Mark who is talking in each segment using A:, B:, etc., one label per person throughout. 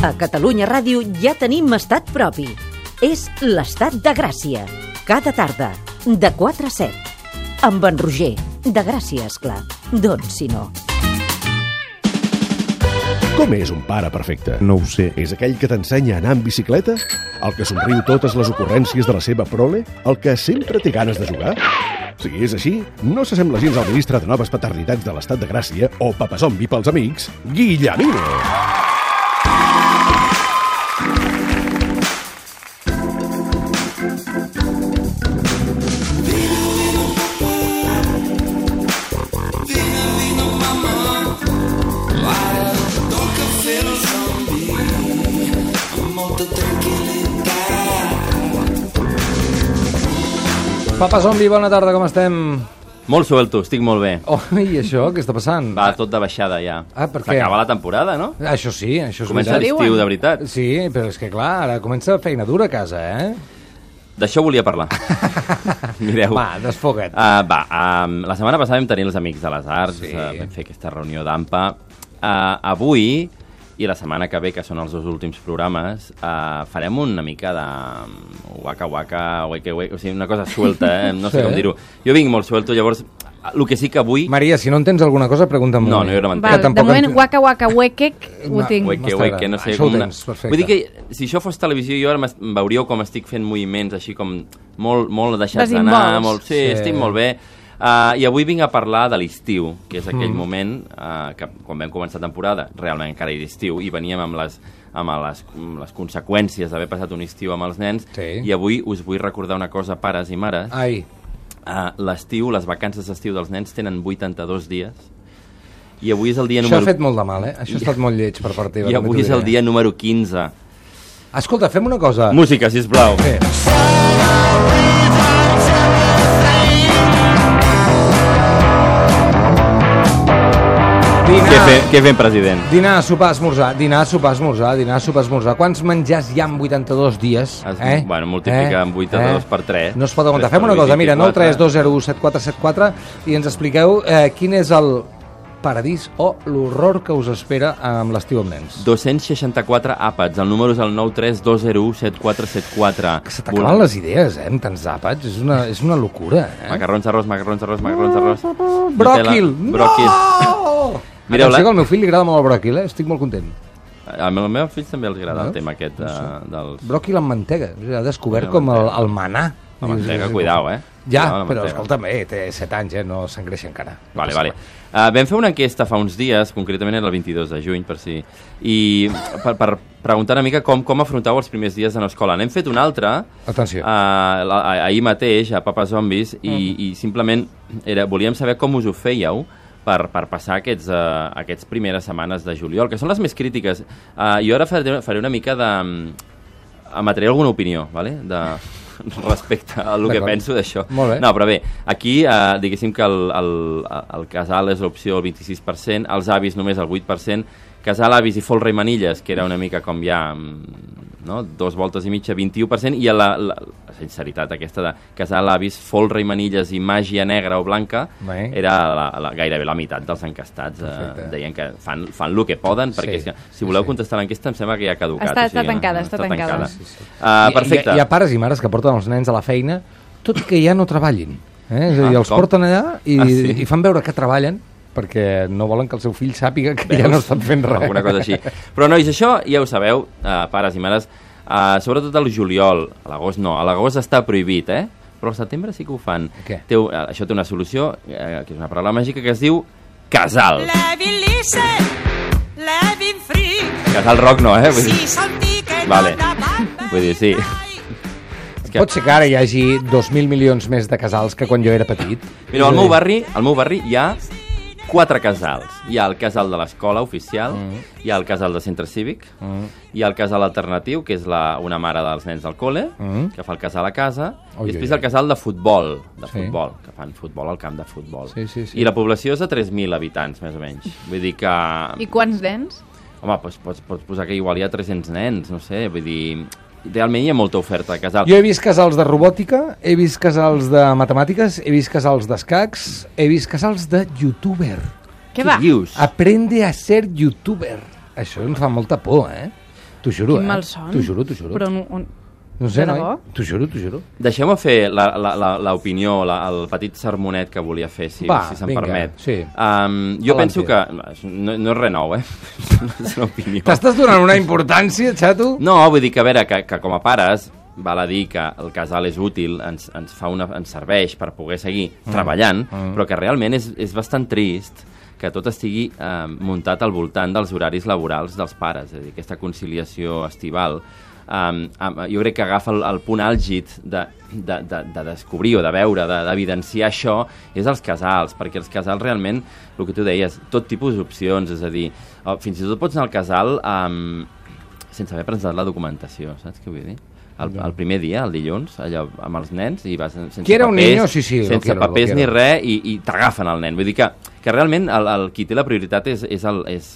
A: A Catalunya Ràdio ja tenim estat propi. És l'estat de Gràcia. Cada tarda, de 4 a 7. Amb en Roger, de Gràcia, esclar. Doncs si no.
B: Com és un pare perfecte?
C: No ho sé.
B: És aquell que t'ensenya a anar en bicicleta? El que somriu totes les ocurrències de la seva prole? El que sempre té ganes de jugar? Si és així, no s'assembla gens al ministre de Noves Paternitats de l'Estat de Gràcia o papazombi pels amics, Guillemino.
D: Papa Zombi, bona tarda, com estem?
E: Molt suelto, estic molt bé.
D: Oh, i això, què està passant?
E: Va tot de baixada ja.
D: Ah, per què?
E: S'acaba la temporada, no?
D: Això sí, això és
E: Comença
D: veritat. Eh,
E: l'estiu, de veritat.
D: Sí, però és que clar, ara comença feina dura a casa, eh?
E: D'això volia parlar. Mireu.
D: Va, desfoga't.
E: Uh, va, um, la setmana passada vam tenir els Amics de les Arts,
D: Sí.
E: sí. uh, vam fer aquesta reunió d'AMPA. Uh, avui, i la setmana que ve, que són els dos últims programes, uh, farem una mica de um, waka waka, wake wake, o sigui, una cosa suelta, eh? no sé
D: Sí.
E: sí. com dir-ho. Jo vinc molt suelto, llavors, el que sí que avui...
D: Maria, si no entens alguna cosa, pregunta'm.
E: No, no, jo no m'entenc.
D: Que
F: Val, de
D: tampoc
F: moment,
D: entenc.
F: waka waka huequec, ho
D: Va,
F: tinc.
D: huequec.
E: Hueque,
D: M'està
E: hueque,
D: agradant.
E: no sé.
D: Això ho
E: com una-
D: tens, perfecte.
E: Vull dir que si això fos televisió, jo ara m'es- em veuríeu com estic fent moviments així com molt, molt deixats
F: Desinvolts.
E: d'anar. Molt... Sí,
D: Sí.
E: sí, estic molt bé. Uh, I avui vinc a parlar de l'estiu, que és aquell mm. moment uh, que quan vam començar temporada, realment encara era estiu, i veníem amb les, amb les, amb les conseqüències d'haver passat un estiu amb els nens,
D: Sí.
E: i avui us vull recordar una cosa, pares i mares.
D: Ai,
E: Uh, l'estiu, les vacances d'estiu dels nens tenen 82 dies, i avui és el dia
D: això
E: número...
D: ha fet molt de mal, eh? Això ha estat molt lleig per part teva.
E: I
D: també
E: avui
D: t'ho
E: és el
D: diré.
E: dia número 15
D: Escolta, fem una cosa.
E: Música, sisplau.
D: Bé,
E: Què
D: Dinar,
E: fem, què fem president?
D: dinar, sopar, esmorzar, dinar, sopar, esmorzar, dinar, sopar, esmorzar. Quants menjars hi ha en 82 dies? eh?
E: Es- bueno, multiplica amb 82 per tres.
D: No es pot aguantar.
E: Tres
D: Fem una
E: per
D: cosa, mira,
E: 24.
D: 932017474 i ens expliqueu eh, quin és el paradís o l'horror que us espera amb l'estiu amb nens.
E: 264 àpats. El número és el 932017474.
D: Que se t'acaben les idees, eh, amb tants àpats. És una, és una locura, eh?
E: Macarrons, arròs, macarrons, arròs, macarrons, arròs.
D: Bròquil!
E: Nutella, Bròquil.
D: No!
E: Mireu,
D: Mireu,
E: la-
D: Atenció, que al meu fill li agrada molt el bròquil, eh? Estic molt content.
E: A la meva fill també els agrada
D: Veus?
E: el tema aquest de, dels...
D: Bròquil amb mantega. Ha descobert
E: Amb
D: com el,
E: mantega.
D: el manà.
E: La mantega, cuidao, eh?
D: Ja,
E: Cuidao amb la
D: però
E: mantega.
D: escolta'm, eh, té 7 anys, eh? No s'engreixa encara.
E: Vale, vale. Uh, vam fer una enquesta fa uns dies, concretament era el 22 de juny, per si... I per, per preguntar una mica com, com afrontau els primers dies en l'escola. N'hem fet una altra,
D: Atenció.
E: a, la- a, ahir mateix, a Papa Zombies, i, i simplement era, volíem saber com us ho fèieu per, per passar aquests, uh, aquests primeres setmanes de juliol, que són les més crítiques. Uh, jo ara faré, faré una mica de... emetré alguna opinió, vale? de, respecte a lo que
D: D'acord.
E: penso d'això.
D: Molt bé.
E: No, però bé, aquí eh, diguéssim que el, el, el casal és l'opció el 26%, els avis només el 8%, casal, avis i folre i manilles, que era una mica com ja mm, no? dos voltes i mitja, 21%, i la, la, la sinceritat aquesta de casal, avis, folre i manilles i màgia negra o blanca
D: Bé.
E: era la, la, gairebé la meitat dels encastats. Eh,
D: Perfecte.
E: deien que fan, fan el que poden, perquè
D: Sí,
E: és que, si voleu
D: sí.
E: contestar l'enquesta em sembla que ja ha caducat.
F: Està- està
E: que no-
F: tancada, està tancada. Sí,
E: Uh, perfecte.
D: Hi, hi, hi ha pares i mares que porten els nens a la feina tot i que ja no treballin. Eh? És a dir,
E: Ah,
D: els
E: com?
D: porten allà i,
E: Ah, sí?
D: i fan veure que treballen perquè no volen que el seu fill sàpiga que ja
E: Veus?
D: no estan fent res.
E: Alguna cosa així. Però, nois, això ja ho sabeu, eh, pares i mares, eh, sobretot al juliol, a l'agost no, a l'agost està prohibit, eh? Però al setembre sí que ho fan.
D: Què?
E: Té, un- eh, això té una solució, eh, que és una paraula màgica, que es diu casal.
G: Levi lisse, levi free,
E: Casal rock no, eh? Vull dir,
G: si són tiques
E: Vale.
G: endavant.
E: Vull dir, sí. és
D: Pot ser que ara hi hagi 2.000 milions més de casals que quan jo era petit.
E: Mira, al meu barri, al meu barri hi ha quatre casals. Hi ha el casal de l'escola oficial, mm. hi ha el casal de centre cívic, mm. hi ha el casal alternatiu, que és la, una mare dels nens del col·le,
D: Mm.
E: mm. que fa el casal a casa,
D: Ui,
E: oi, i després
D: ui,
E: oi. el casal de futbol, de
D: Sí.
E: sí. futbol, que fan futbol al camp de futbol.
D: Sí, sí, sí.
E: I la població és de 3.000 habitants, més o menys. Vull dir que...
F: I quants nens?
E: Home, doncs, pots, pots posar que igual hi ha 300 nens, no sé, vull dir... Realment hi ha molta oferta de casal.
D: Jo he vist casals de robòtica, he vist casals de matemàtiques, he vist casals d'escacs, he vist casals de youtuber.
F: Què va?
E: dius?
D: Aprende a ser youtuber. Això em fa molta por, eh? T'ho juro,
F: Quin
D: eh?
F: malson.
D: T'ho juro, t'ho juro.
F: Però on, on...
D: No sé,
F: de
D: noi?
F: debò?
D: T'ho juro, t'ho juro.
E: Deixeu-me fer la- la- la- l'opinió, la, el petit sermonet que volia fer, si,
D: Va,
E: si se'm
D: vinga,
E: permet.
D: sí.
E: Um, jo
D: Adelante.
E: penso que... No, no és res nou, eh? és una opinió.
D: T'estàs donant una importància, xato?
E: No, vull dir que, a veure, que, que com a pares val a dir que el casal és útil, ens, ens, fa una, ens serveix per poder seguir mm. treballant, mm. però que realment és, és bastant trist que tot estigui eh, muntat al voltant dels horaris laborals dels pares, és a dir, aquesta conciliació estival. Um, um, jo crec que agafa el, el punt àlgid de, de, de, de descobrir o de veure, de- d'evidenciar de, això, és els casals, perquè els casals realment, el que tu deies, tot tipus d'opcions, és a dir, eh, fins i tot pots anar al casal um, sense haver presentat la documentació, saps què vull dir? El, el primer dia, el dilluns, allò amb els nens i vas sense
D: Quiero un
E: papers,
D: niño, sí, sí, lo
E: sense
D: quiero, lo
E: papers ni
D: quiero.
E: res i, i t'agafen el nen. Vull dir que, que realment el, el, qui té la prioritat és, és, el, és,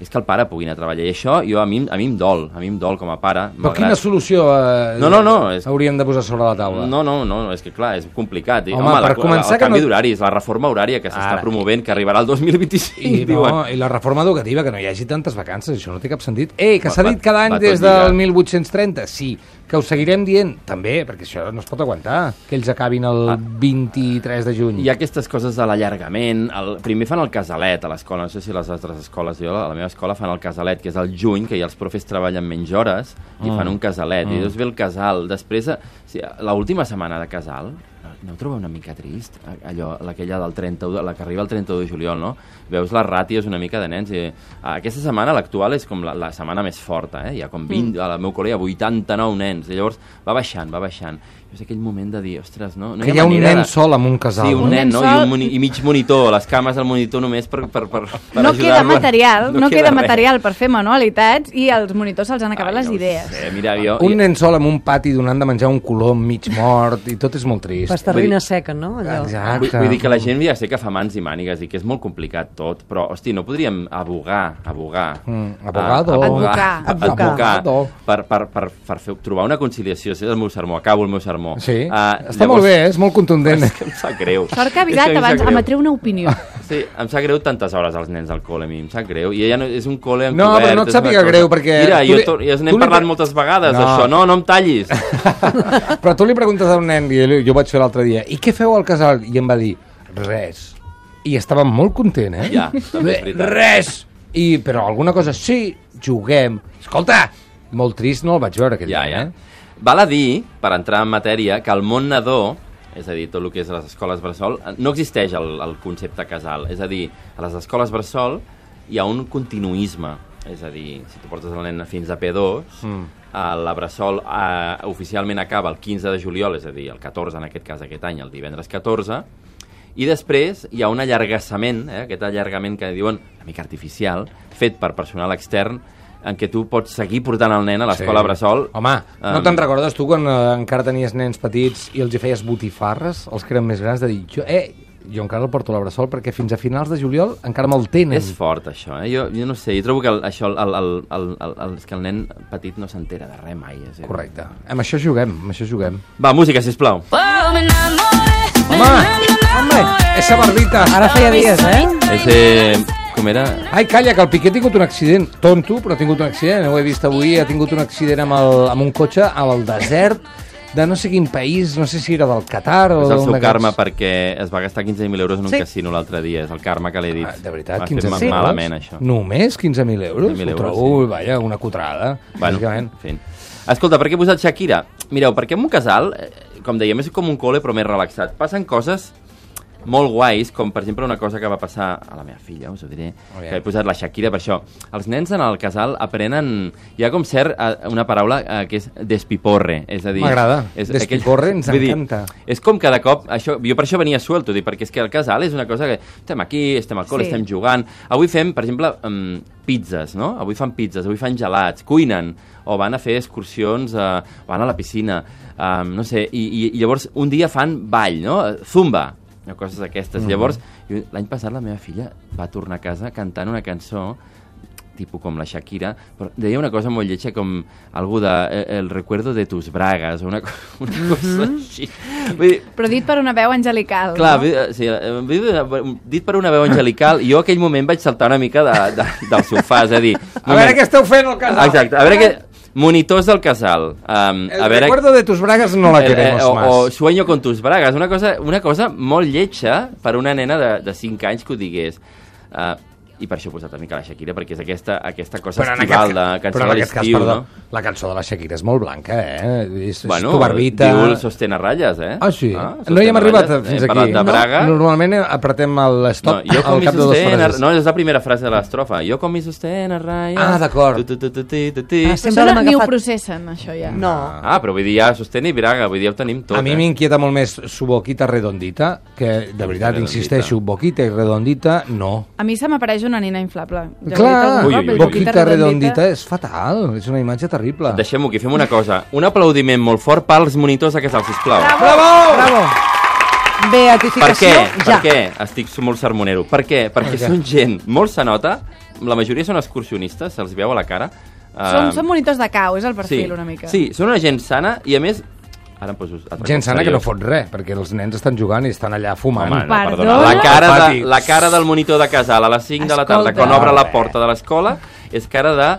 E: és que el pare pugui anar a treballar. I això jo, a, mi, a mi em dol, a mi em dol com a pare.
D: Però quina solució eh,
E: No, no, no, és-
D: hauríem de posar sobre la taula?
E: No, no, no, no, és que clar, és complicat. I,
D: Home,
E: home, la-
D: per començar
E: la, el
D: que
E: canvi
D: no-
E: d'horaris, la reforma horària que s'està
D: Ara.
E: promovent, que arribarà el 2025,
D: I,
E: diuen.
D: no, I la reforma educativa, que no hi hagi tantes vacances, això no té cap sentit. Ei, que s'ha
E: Va-
D: dit cada
E: va-
D: any
E: va tot
D: des del
E: lligat.
D: 1830, sí, que ho seguirem dient, també, perquè això no es pot aguantar, que ells acabin el 23 de juny.
E: Ah. Hi ha aquestes coses de l'allargament. El, primer fan el casalet a l'escola, no sé si a les altres escoles, jo a la meva escola fan el casalet, que és el juny, que ja els profes treballen menys hores i
D: Ah.
E: fan un casalet. I llavors ve el casal. Després, eh, sí, l'última setmana de casal, no, no ho trobo una mica trist? A- Allò, aquella del 31, de- la que arriba el 31 de juliol, no? Veus les ràtios una mica de nens i... ah, Aquesta setmana, l'actual, és com la, la setmana més forta, eh? Hi ha com 20, mm. al meu col·le hi ha 89 nens, i llavors va baixant, va baixant. És aquell moment de dir, ostres, no, no
D: que hi ha un
E: manera
D: nen
E: de...
D: sol amb un casal.
E: Sí, un,
F: Un
E: nen,
F: nen
E: no?
F: sol.
E: I, un moni I mig monitor, les cames del monitor només per, per, per, per
F: No queda
E: ajudar-lo a-
F: material, no, queda,
E: res.
F: material per fer manualitats i als monitors se'ls han acabat
E: Ai,
F: les
E: no ho
F: idees.
E: Sé, mira, jo...
D: Un nen sol amb un pati donant de menjar un colom mig mort i tot és molt trist.
E: Vull
C: Pastarrina
E: dir- Ah,
C: seca, no? Allò.
D: Exacte.
E: Vull, vull dir que la gent ja sé que fa mans i mànigues i que és molt complicat tot, però, hosti, no podríem abogar, abogar...
D: Mm, abogado.
E: Ah,
F: Advocar.
E: Advocar.
D: Abogado.
E: Per, per, per, per fer, trobar una conciliació. Ese és el meu sermó, acabo el meu sermó.
D: Sí,
E: Ah,
D: està molt bé, eh? és molt contundent.
E: És que em sap greu.
F: Sort que
E: És a
F: ha avisat
E: mi em sap
F: abans,
E: greu.
F: emetré una opinió.
E: Sí, em sap greu tantes hores als nens al col·le, a mi em sap greu. I ella no, és un col·le encobert.
D: No, però no et
E: és una
D: sàpiga
E: cosa-
D: greu, perquè
E: Mira,
D: tu
E: jo
D: li-
E: to- ja
D: tu
E: n'hem
D: li-
E: parlat moltes vegades,
D: No.
E: d'això. No, no em tallis.
D: Però tu li preguntes a un nen, i jo- jo vaig fer l'altre dia, i què feu al casal? I em va dir, res. I estava molt content, eh?
E: Ja, també és veritat.
D: Res! I, però alguna cosa, sí, juguem. Escolta, molt trist no el vaig veure aquell
E: ja,
D: dia,
E: ja.
D: eh?
E: Val a dir, per entrar en matèria, que el món nadó, és a dir, tot el que és les escoles bressol, no existeix el, el concepte casal. És a dir, a les escoles bressol hi ha un continuisme. És a dir, si tu portes el nen fins a P2, mm. eh, la bressol eh, oficialment acaba el 15 de juliol, és a dir, el 14 en aquest cas aquest any, el divendres 14, I després hi ha un allargassament, eh, aquest allargament que diuen una mica artificial, fet per personal extern, en què tu pots seguir portant el nen a l'escola sí. Bressol.
D: Home, no
E: Em,
D: te'n recordes tu quan eh, encara tenies nens petits i els hi feies botifarres, els que eren més grans, de dir, jo, eh, jo encara el porto a la bressol perquè fins a finals de juliol encara me'l tenen.
E: És fort, això, eh? Jo, jo no sé, jo trobo que el, això, el, el, el, el, el, el, és que el nen petit no s'entera de res mai. És a dir.
D: Correcte. Amb això juguem, amb això juguem.
E: Va, música, sisplau.
D: Home, home, esa barbita.
C: Ara feia dies, eh?
E: És, eh, com era?
D: Ai, calla, que el Piqué ha tingut un accident. Tonto, però ha tingut un accident. Ho he vist avui. Ha tingut un accident amb, el, amb un cotxe al desert de no sé quin país, no sé si era del Qatar o...
E: És el
D: d'on
E: seu
D: d'aquests.
E: karma perquè es va gastar 15.000 euros en un
C: Sí.
E: sí. casino l'altre dia. És el karma que l'he dit.
D: Ah, de veritat,
E: M'ha fet
D: 15.000
E: ma-
D: euros?
E: Malament, això.
D: Només 15.000 euros?
E: 15.000
D: Ho
E: euros,
D: trobo, vaja, una cutrada. bàsicament.
E: en fi. Escolta, per què he posat Shakira? Mireu, perquè en un casal, eh, com dèiem, és com un col·le però més relaxat. Passen coses molt guais, com per exemple una cosa que va passar a la meva filla, us ho diré,
D: Aviam.
E: que he posat la Shakira per això. Els nens en el casal aprenen... Hi ha com cert eh, una paraula eh, que és despiporre, és a dir...
D: M'agrada.
E: és
D: Despiporre ens
E: Vull dir,
D: encanta.
E: és com cada cop, això, jo per això venia suelto, dic, perquè és que el casal és una cosa que estem aquí, estem al col·le,
F: Sí.
E: sí. estem jugant. Avui fem, per exemple, um, pizzas, no? Avui fan pizzas, avui fan gelats, cuinen, o van a fer excursions, uh, van a la piscina, um, no sé, i, i, i llavors un dia fan ball, no? Eh, Zumba, o coses d'aquestes. Mm -hmm. Llavors, jo- l'any passat la meva filla va tornar a casa cantant una cançó tipus com la Shakira, però deia una cosa molt lletja com algú de eh, el recuerdo de tus bragas, o una, co- una cosa
D: Mhm.
E: així. Vull dir,
F: Però dit per una veu angelical.
E: Clar,
F: no?
E: vi- eh, sí, eh, vi- eh, dit per una veu angelical, jo en aquell moment vaig saltar una mica de, de, del sofà, és a dir...
D: A veure què esteu fent al casal.
E: Exacte, a veure què... Monitors del casal. Um,
D: El recuerdo de tus bragas no la queremos
E: Eh, o,
D: más.
E: o Sueño con tus bragas, una cosa, una cosa molt lletja per una nena de, de 5 anys que ho digués. Uh, I per això he posat una mica la Shakira, perquè és aquesta, aquesta cosa estival de
D: ca-
E: cançó
D: però
E: de
D: en aquest cas,
E: l'estiu,
D: perdó,
E: no?
D: la cançó de la Shakira és molt blanca, eh? És,
E: Bueno,
D: és tubarbita...
E: diu el sostén a ratlles, eh?
D: Ah, sí? no
E: sostén
D: hi hem
E: a
D: arribat
E: ratlles.
D: fins aquí.
E: Hem parlat de Braga.
D: No, normalment apretem
E: No,
D: l'estop
E: jo com
D: al
E: mi
D: cap de dues
E: sostén... A...
D: frases.
E: No, és la primera frase de l'estrofa. Jo com mi sostén a ratlles...
D: Ah, d'acord.
E: Tu, tu, tu, tu, ti, tu, ti.
C: Ah,
F: Però
C: Sempre
F: això
C: l'hem
F: no, ni ho
C: agafat.
F: processen, això ja.
C: No.
E: Ah, però vull dir, ja sostén i Braga, vull dir, ja ho tenim tot.
D: a mi
E: eh?
D: m'inquieta molt més su boquita redondita, que de veritat,
E: Redondita.
D: insisteixo, boquita i redondita, no.
F: A mi se m'apareix una nina inflable. Ja ho he dit
D: Clar,
F: algun
E: Ui,
F: cop,
E: ui, ui. eh?
F: el
D: boquita redondita és fatal, és una imatge terrible.
E: Deixem-ho aquí, fem una cosa. Un aplaudiment molt fort pels monitors de casal, sisplau. Bravo.
D: Bravo! Bravo!
E: Per què?
C: Beatificació
E: Per
C: ja.
E: què? Estic molt sermonero. Per què? Perquè
D: Per què?
E: són gent molt senota, la majoria són excursionistes, se'ls veu a la cara.
F: Són,
E: Eh,
F: són monitors de cau, és el perfil
E: sí.
F: una mica.
E: Sí, són una gent sana i a més... Ara em poso... altre
D: Gent
E: cop
D: sana que no
E: seriós.
D: fot res, perquè els nens estan jugant i estan allà fumant.
E: Home, no,
F: Perdó?
E: perdona. La cara,
D: Al pati.
E: de, la cara del monitor de casal a les 5 de la tarda,
F: Escolta.
E: quan obre la
D: Res.
E: porta de l'escola, és cara de...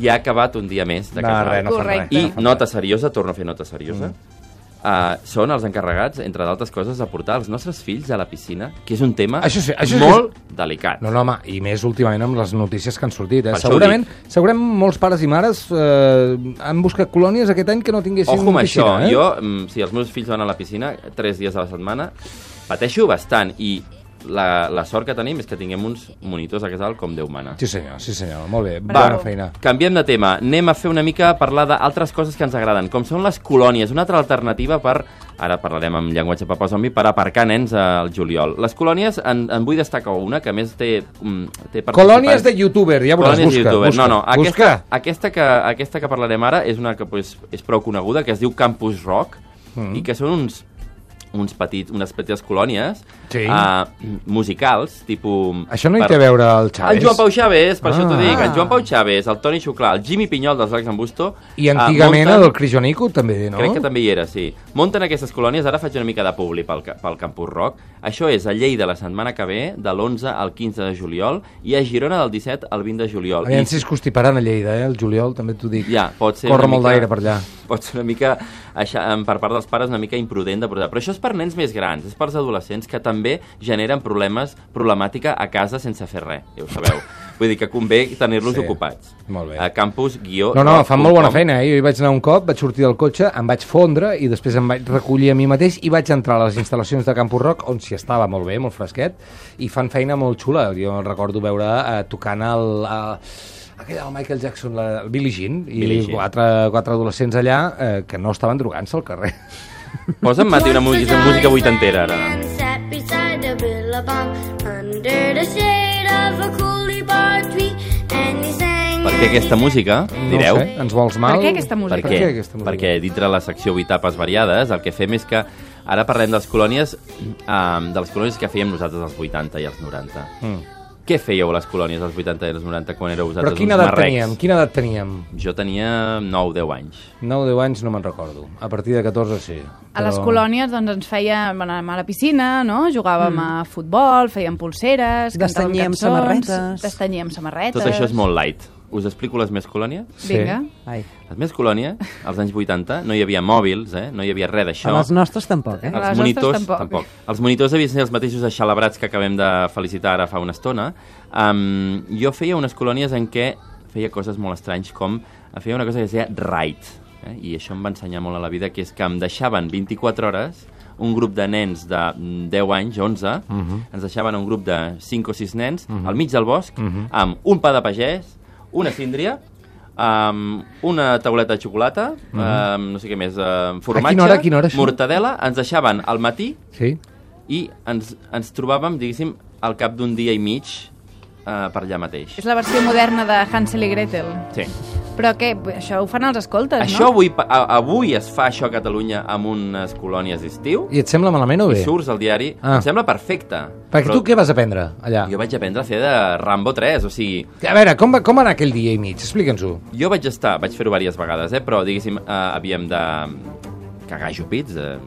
E: Ja ha acabat un dia més de
D: No,
E: casal.
D: res, no fan res. Mm.
F: Correcte.
E: I nota seriosa, torno a fer nota seriosa, Uh, són els encarregats, entre d'altres coses, de portar els nostres fills a la piscina, que és un tema
D: Això sí, això sí
E: molt delicat.
D: No, no, home, i més últimament amb les notícies que han sortit.
E: Per
D: Eh?
E: això ho
D: Segurament, segurament molts pares i mares eh, han buscat colònies aquest any que no tinguessin
E: Ojo amb
D: piscina.
E: això,
D: eh?
E: jo, mm, si els meus fills van a la piscina tres dies a la setmana, pateixo bastant i la, la sort que tenim és que tinguem uns monitors a casal com Déu mana.
D: Sí senyor, sí senyor, molt bé,
E: Bravo.
D: bona feina.
E: Canviem de tema, anem a fer una mica a parlar d'altres coses que ens agraden, com són les colònies, una altra alternativa per, ara parlarem amb llenguatge papazombi, per aparcar nens al juliol. Les colònies, en, en vull destacar una, que a més té, mm, té participants...
D: Colònies de youtuber, ja veuràs,
E: Colònies
D: busca,
E: de youtuber.
D: busca.
E: no, no, aquesta,
D: busca.
E: aquesta, que, aquesta que parlarem ara és una que pues, és prou coneguda, que es diu Campus Rock, mm. i que són uns, uns petits, unes petites colònies
D: Sí.
E: eh, musicals, tipus...
D: Això no hi té a veure el Chaves.
E: En Joan Pau Chaves, per ah. això t'ho
D: Ah.
E: dic. En Joan Pau Chaves, el Toni Xuclà, el Jimmy Pinyol dels Lacs en Busto...
D: I
E: eh,
D: antigament el
E: munten-
D: Crijonico també, no?
E: Crec que també hi era, sí. Monten aquestes colònies, ara faig una mica de publi pel, ca- pel Campus Rock. Això és a Lleida la setmana que ve, de l'11 al 15 de juliol, i a Girona del 17 al 20 de juliol.
D: Aviam
E: I-
D: si es constiparan a Lleida, eh, el juliol, també t'ho dic.
E: ja, pot ser
D: Corre
E: una
D: molt
E: mica-
D: d'aire per allà.
E: Pot ser una mica, això, em- per part dels pares, una mica imprudent de portar. Però això és per nens més grans, és pels adolescents que també generen problemes, problemàtica a casa sense fer res, ja ho sabeu. Vull dir que convé tenir-los
D: Sí.
E: sí. ocupats.
D: Molt bé.
E: A campus guió...
D: No, no, fan molt bona
E: rock punt com.
D: feina, eh? Jo hi vaig anar un cop, vaig sortir del cotxe, em vaig fondre i després em vaig recollir a mi mateix i vaig entrar a les instal·lacions de Campus Rock, on s'hi estava molt bé, molt fresquet, i fan feina molt xula. Jo recordo veure eh, tocant el... Eh, aquell del Michael Jackson, la, el Billie Jean, i
E: Billie Jean.
D: Quatre, quatre adolescents allà eh, que no estaven drogant-se al carrer.
E: Posa'm, Mati, una música, música vuitantera, ara.
H: Sat beside a billabong under the shade of a coolie bar tree and he sang
E: Per què aquesta música, direu?
D: No ho sé, ens vols mal?
F: Per què aquesta música?
E: Per
F: Per
E: què?
D: què aquesta música?
E: Perquè dintre la secció 8 tapes variades el que fem és que ara parlem dels colònies, um, de les colònies que fèiem nosaltres als 80 i als 90. Mm. Què fèieu a les colònies als 80 i als 90 quan éreu vosaltres
D: Però quina
E: uns
D: edat
E: marrecs?
D: teníem? Quina edat teníem?
E: Jo tenia 9-10 anys.
D: 9-10 anys no me'n recordo. A partir de 14 sí.
F: A les colònies doncs, ens fèiem anar a la piscina, no? jugàvem
E: Mm.
F: a futbol, fèiem pulseres, cantàvem
C: Destanyíem
F: cançons,
C: samarretes.
F: destanyíem samarretes.
E: Tot això és molt light. Us explico les més colònies?
F: Vinga.
C: Ai.
E: Les més colònies, als anys 80, no hi havia mòbils, eh? no hi havia res d'això.
C: A les nostres tampoc, eh?
F: A
E: Els
F: les nostres
E: monitors,
F: tampoc.
E: tampoc. Els monitors devien ser els mateixos aixelebrats que acabem de felicitar ara fa una estona. Um, jo feia unes colònies en què feia coses molt estranys, com feia una cosa que es deia Right, eh? i això em va ensenyar molt a la vida, que és que em deixaven 24 hores un grup de nens de mm, 10 anys, 11,
D: Mhm.
E: ens deixaven a un grup de 5 o 6 nens al mig del bosc,
D: Mhm.
E: amb un pa de pagès, una síndria, amb una tauleta de xocolata, amb no sé què més, amb formatge,
D: hora, Mhm. a quina hora, això?
E: mortadela, ens deixaven al matí
D: Sí?
E: i ens, ens trobàvem, diguéssim, al cap d'un dia i mig eh, per allà mateix.
F: És la versió moderna de Hansel i Gretel.
E: Sí.
F: Però què? Això ho fan els escoltes,
E: Això
F: no?
E: avui, pa- a- avui es fa això a Catalunya amb unes colònies d'estiu
D: I et sembla malament o bé?
E: i surts al diari.
D: Ah.
E: Em sembla perfecte.
D: Perquè
E: però
D: tu què vas aprendre allà?
E: Jo vaig aprendre a fer de Rambo 3, o sigui,
D: A veure, com va, com va anar aquell dia i mig? Explica'ns-ho.
E: jo vaig estar, vaig fer-ho diverses vegades, eh? però diguéssim, eh, havíem de cagar jupits, eh?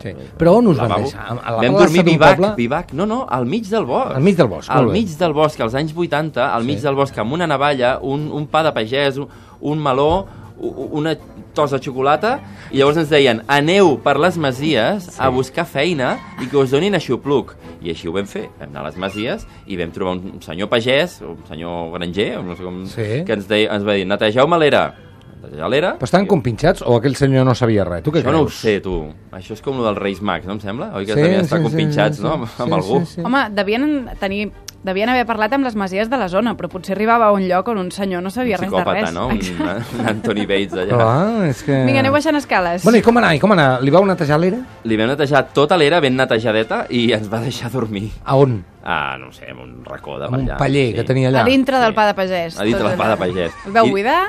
D: Sí. Però on us van
E: lavabo.
D: deixar? A la
E: Vam
D: plaça
E: dormir
D: d'un
E: vivac,
D: poble?
E: vivac, no, no, al mig del bosc.
D: Al mig del bosc,
E: Al
D: molt bé.
E: mig del bosc, als anys 80, al mig
D: Sí.
E: del bosc, amb una navalla, un, un pa de pagès, un, un meló, u- una tosa de xocolata, i llavors ens deien, aneu per les masies a buscar feina i que us donin aixopluc. I així ho vam fer. Vam anar a les masies i vam trobar un senyor pagès, un senyor granger, no sé com,
D: Sí.
E: que ens, deia, ens va dir, netegeu-me l'era. Netejar l'era.
D: Però estaven
E: I-
D: compinxats o aquell senyor no sabia res? Tu què
E: això
D: creus?
E: no ho sé, tu. Això és com el dels Reis Mags, no em sembla? Oi que
D: Sí,
E: sí, també estar
D: sí, sí,
E: compinxats,
D: sí,
E: no?
D: sí,
E: amb
D: sí,
E: algú.
D: sí, sí.
F: Home, devien tenir... Devien haver parlat amb les masies de la zona, però potser arribava a un lloc on un senyor no sabia
E: Un
F: res de
E: psicòpata,
F: res.
E: no? Un, Eh. un Anthony Bates allà.
D: Ah, és que...
F: Vinga, aneu baixant escales.
D: Bueno, i com anar? I com anar? Li vau netejar l'era?
E: Li vam netejar tota l'era ben netejadeta i ens va deixar dormir.
D: A on?
E: Ah, no ho sé, en un racó de
D: Amb un
E: allà.
D: paller que tenia allà.
F: A dintre
E: Sí.
F: del pa de pagès.
E: A dintre
F: tot
E: del pa
F: allà.
E: de pagès.
F: El veu
E: I-
F: buidar?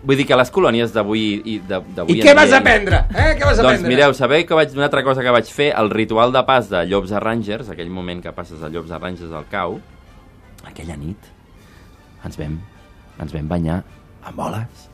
E: Vull dir que les colònies d'avui... I, de-
D: I
E: d'avui
D: què
E: en
D: vas
E: dia-
D: aprendre? Eh? Què vas
E: Doncs
D: aprendre?
E: mireu, sabeu que vaig, una altra cosa que vaig fer, el ritual de pas de Llops a Rangers, aquell moment que passes de Llops a Rangers al cau, aquella nit ens vam, ens vam banyar amb boles,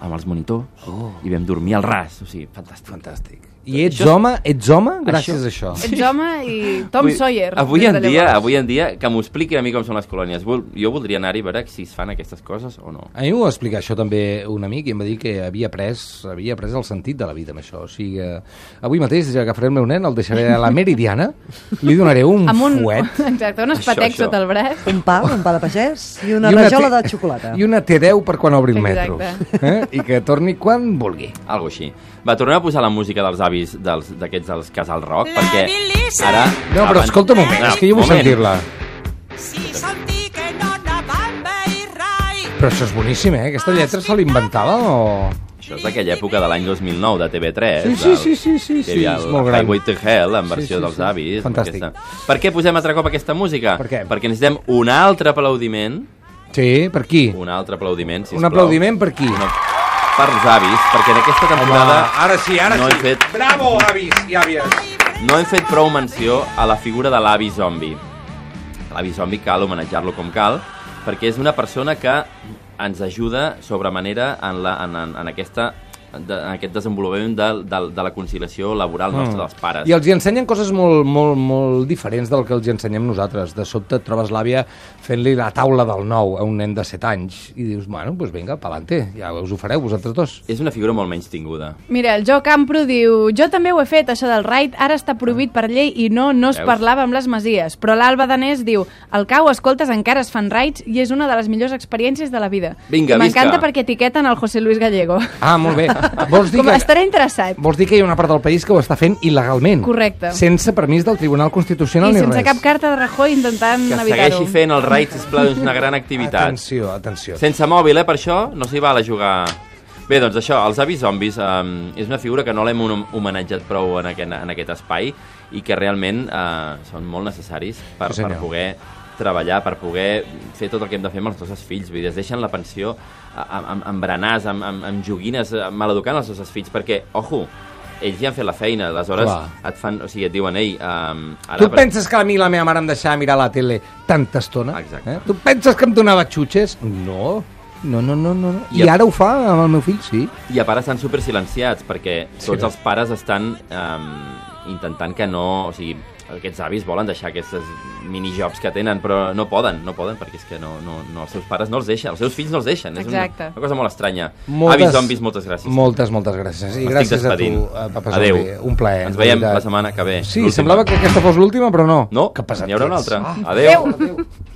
E: amb els monitors, oh. i vam dormir al ras, o sigui, fantàstic. fantàstic.
D: I ets home? Ets home? Gràcies a això.
F: Ets home i Tom
E: Vull-
F: Sawyer.
E: Avui
F: des
E: en,
F: de
E: dia,
F: llavors.
E: avui en dia, que m'ho expliqui a mi com són les colònies. Vol, jo voldria anar-hi a veure si es fan aquestes coses o no.
D: A mi m'ho va explicar això també un amic i em va dir que havia pres, havia pres el sentit de la vida amb això. O sigui, eh, avui mateix, ja que faré el meu nen, el deixaré a la Meridiana, li donaré un,
F: Amb un...
D: fuet
F: Exacte, un
E: Això,
F: espatec
E: això.
F: sota el braç.
C: Un pa, un pa de pagès i una,
D: I
C: una
D: una
C: rajola
D: te-
C: de xocolata.
D: i una T10 per quan obri el metro.
F: Exacte.
D: Eh? I que torni quan vulgui.
E: Algo així. Va, tornem a posar la música dels avis dels- d'aquests dels, Casal Roc,
G: La
E: perquè
G: Melissa.
E: ara...
D: No, però
E: abans-
D: escolta un moment, és que jo vull
E: moment.
D: sentir-la.
G: Si sentí que no anaven bé i rai,
D: Però això és boníssim, eh?
C: Ah,
D: Aquesta lletra se l'inventava o...?
E: Això és d'aquella època de l'any 2009, de TV3.
D: Sí, sí,
E: del-
D: sí, sí, sí,
E: que hi havia
D: sí, és
E: el
D: molt gran.
E: Highway to Hell, en versió
D: sí,
E: dels
D: sí.
E: avis.
D: Fantàstic.
E: Aquesta... Per què posem altre cop aquesta música?
D: Per què?
E: Perquè necessitem un altre aplaudiment,
D: Sí, per qui?
E: un altre aplaudiment, sisplau.
D: Un aplaudiment per qui?
E: No, pels avis, perquè en aquesta temporada
D: ara sí, ara
E: no
D: sí.
E: hem fet-
D: Bravo, avis i àvies.
E: no hem fet prou menció a la figura de l'avi zombi. L'avi zombi cal homenatjar-lo com cal, perquè és una persona que ens ajuda sobremanera en, la, en, en, en aquesta de, en aquest desenvolupament de, de, de la conciliació laboral nostra dels pares.
D: Hmm. I els hi ensenyen coses molt, molt, molt diferents del que els hi ensenyem nosaltres. De sobte et trobes l'àvia fent-li la taula del nou a un nen de 7 anys i dius, bueno, doncs vinga, pa'lante, ja us ho fareu vosaltres dos.
E: És una figura molt menys tinguda.
F: Mira, el Joe Campro diu Jo també ho he fet, això del raid, ara està prohibit per llei i no, no es
E: Veus?
F: parlava amb les masies. Però l'Alba Danés diu Al cau, escoltes, encara es fan raids i és una de les millors experiències de la vida.
E: Vinga,
F: I M'encanta
E: visca.
F: perquè etiqueten el José Luis Gallego.
D: Ah, molt bé. Vols dir,
F: Com
D: que,
F: estarà interessat.
D: vols dir que hi ha una part del país que ho està fent il·legalment?
F: Correcte.
D: Sense permís del Tribunal Constitucional
F: I
D: ni
F: sense
D: res.
F: cap carta de Rajoy intentant
E: Que
F: evitar-ho.
E: segueixi fent el raid, sisplau, és una gran activitat.
D: Atenció, atenció.
E: Sense mòbil, eh, per això no s'hi val a jugar... Bé, doncs això, els avis zombis eh, és una figura que no l'hem hom- homenatjat prou en aquest, en aquest espai i que realment eh, són molt necessaris per,
D: Sí,
E: sí,
D: senyor.
E: per poder treballar, per poder fer tot el que hem de fer amb els nostres fills. Vull dir, es deixen la pensió a- a- amb, amb berenars, amb, amb, amb joguines, eh, maleducant els nostres fills, perquè, ojo, ells ja han fet la feina, aleshores
D: Clar.
E: et fan, o sigui, et diuen, ei, eh,
D: Tu et penses que a mi la meva mare em deixava mirar la tele tanta estona?
E: Exacte.
D: Eh? Tu et penses que em donava xutxes? No. No, no, no, no. no. I
E: I a-
D: ara ho fa amb el meu fill, sí.
E: I a part estan supersilenciats, perquè tots
D: no?
E: els pares estan um, intentant que no... O sigui, aquests avis volen deixar aquestes minijobs que tenen, però no poden, no poden, perquè és que no, no, no, els seus pares no els deixen, els seus fills no els deixen.
F: Exacte.
E: És una, una cosa molt estranya. Avis zombis, moltes gràcies.
D: Moltes, moltes gràcies. I
E: M'estic
D: gràcies a tu,
E: despedint.
D: eh, Papa
E: Adéu.
D: Zombi. Un plaer.
E: Ens
D: de
E: veiem
D: veritat.
E: la setmana que ve.
D: Sí,
E: l'última.
D: semblava que Ah, aquesta fos l'última, però no.
E: No,
D: que pesat
E: n'hi haurà una
D: que ets.
E: altra. Adéu.
D: Adéu.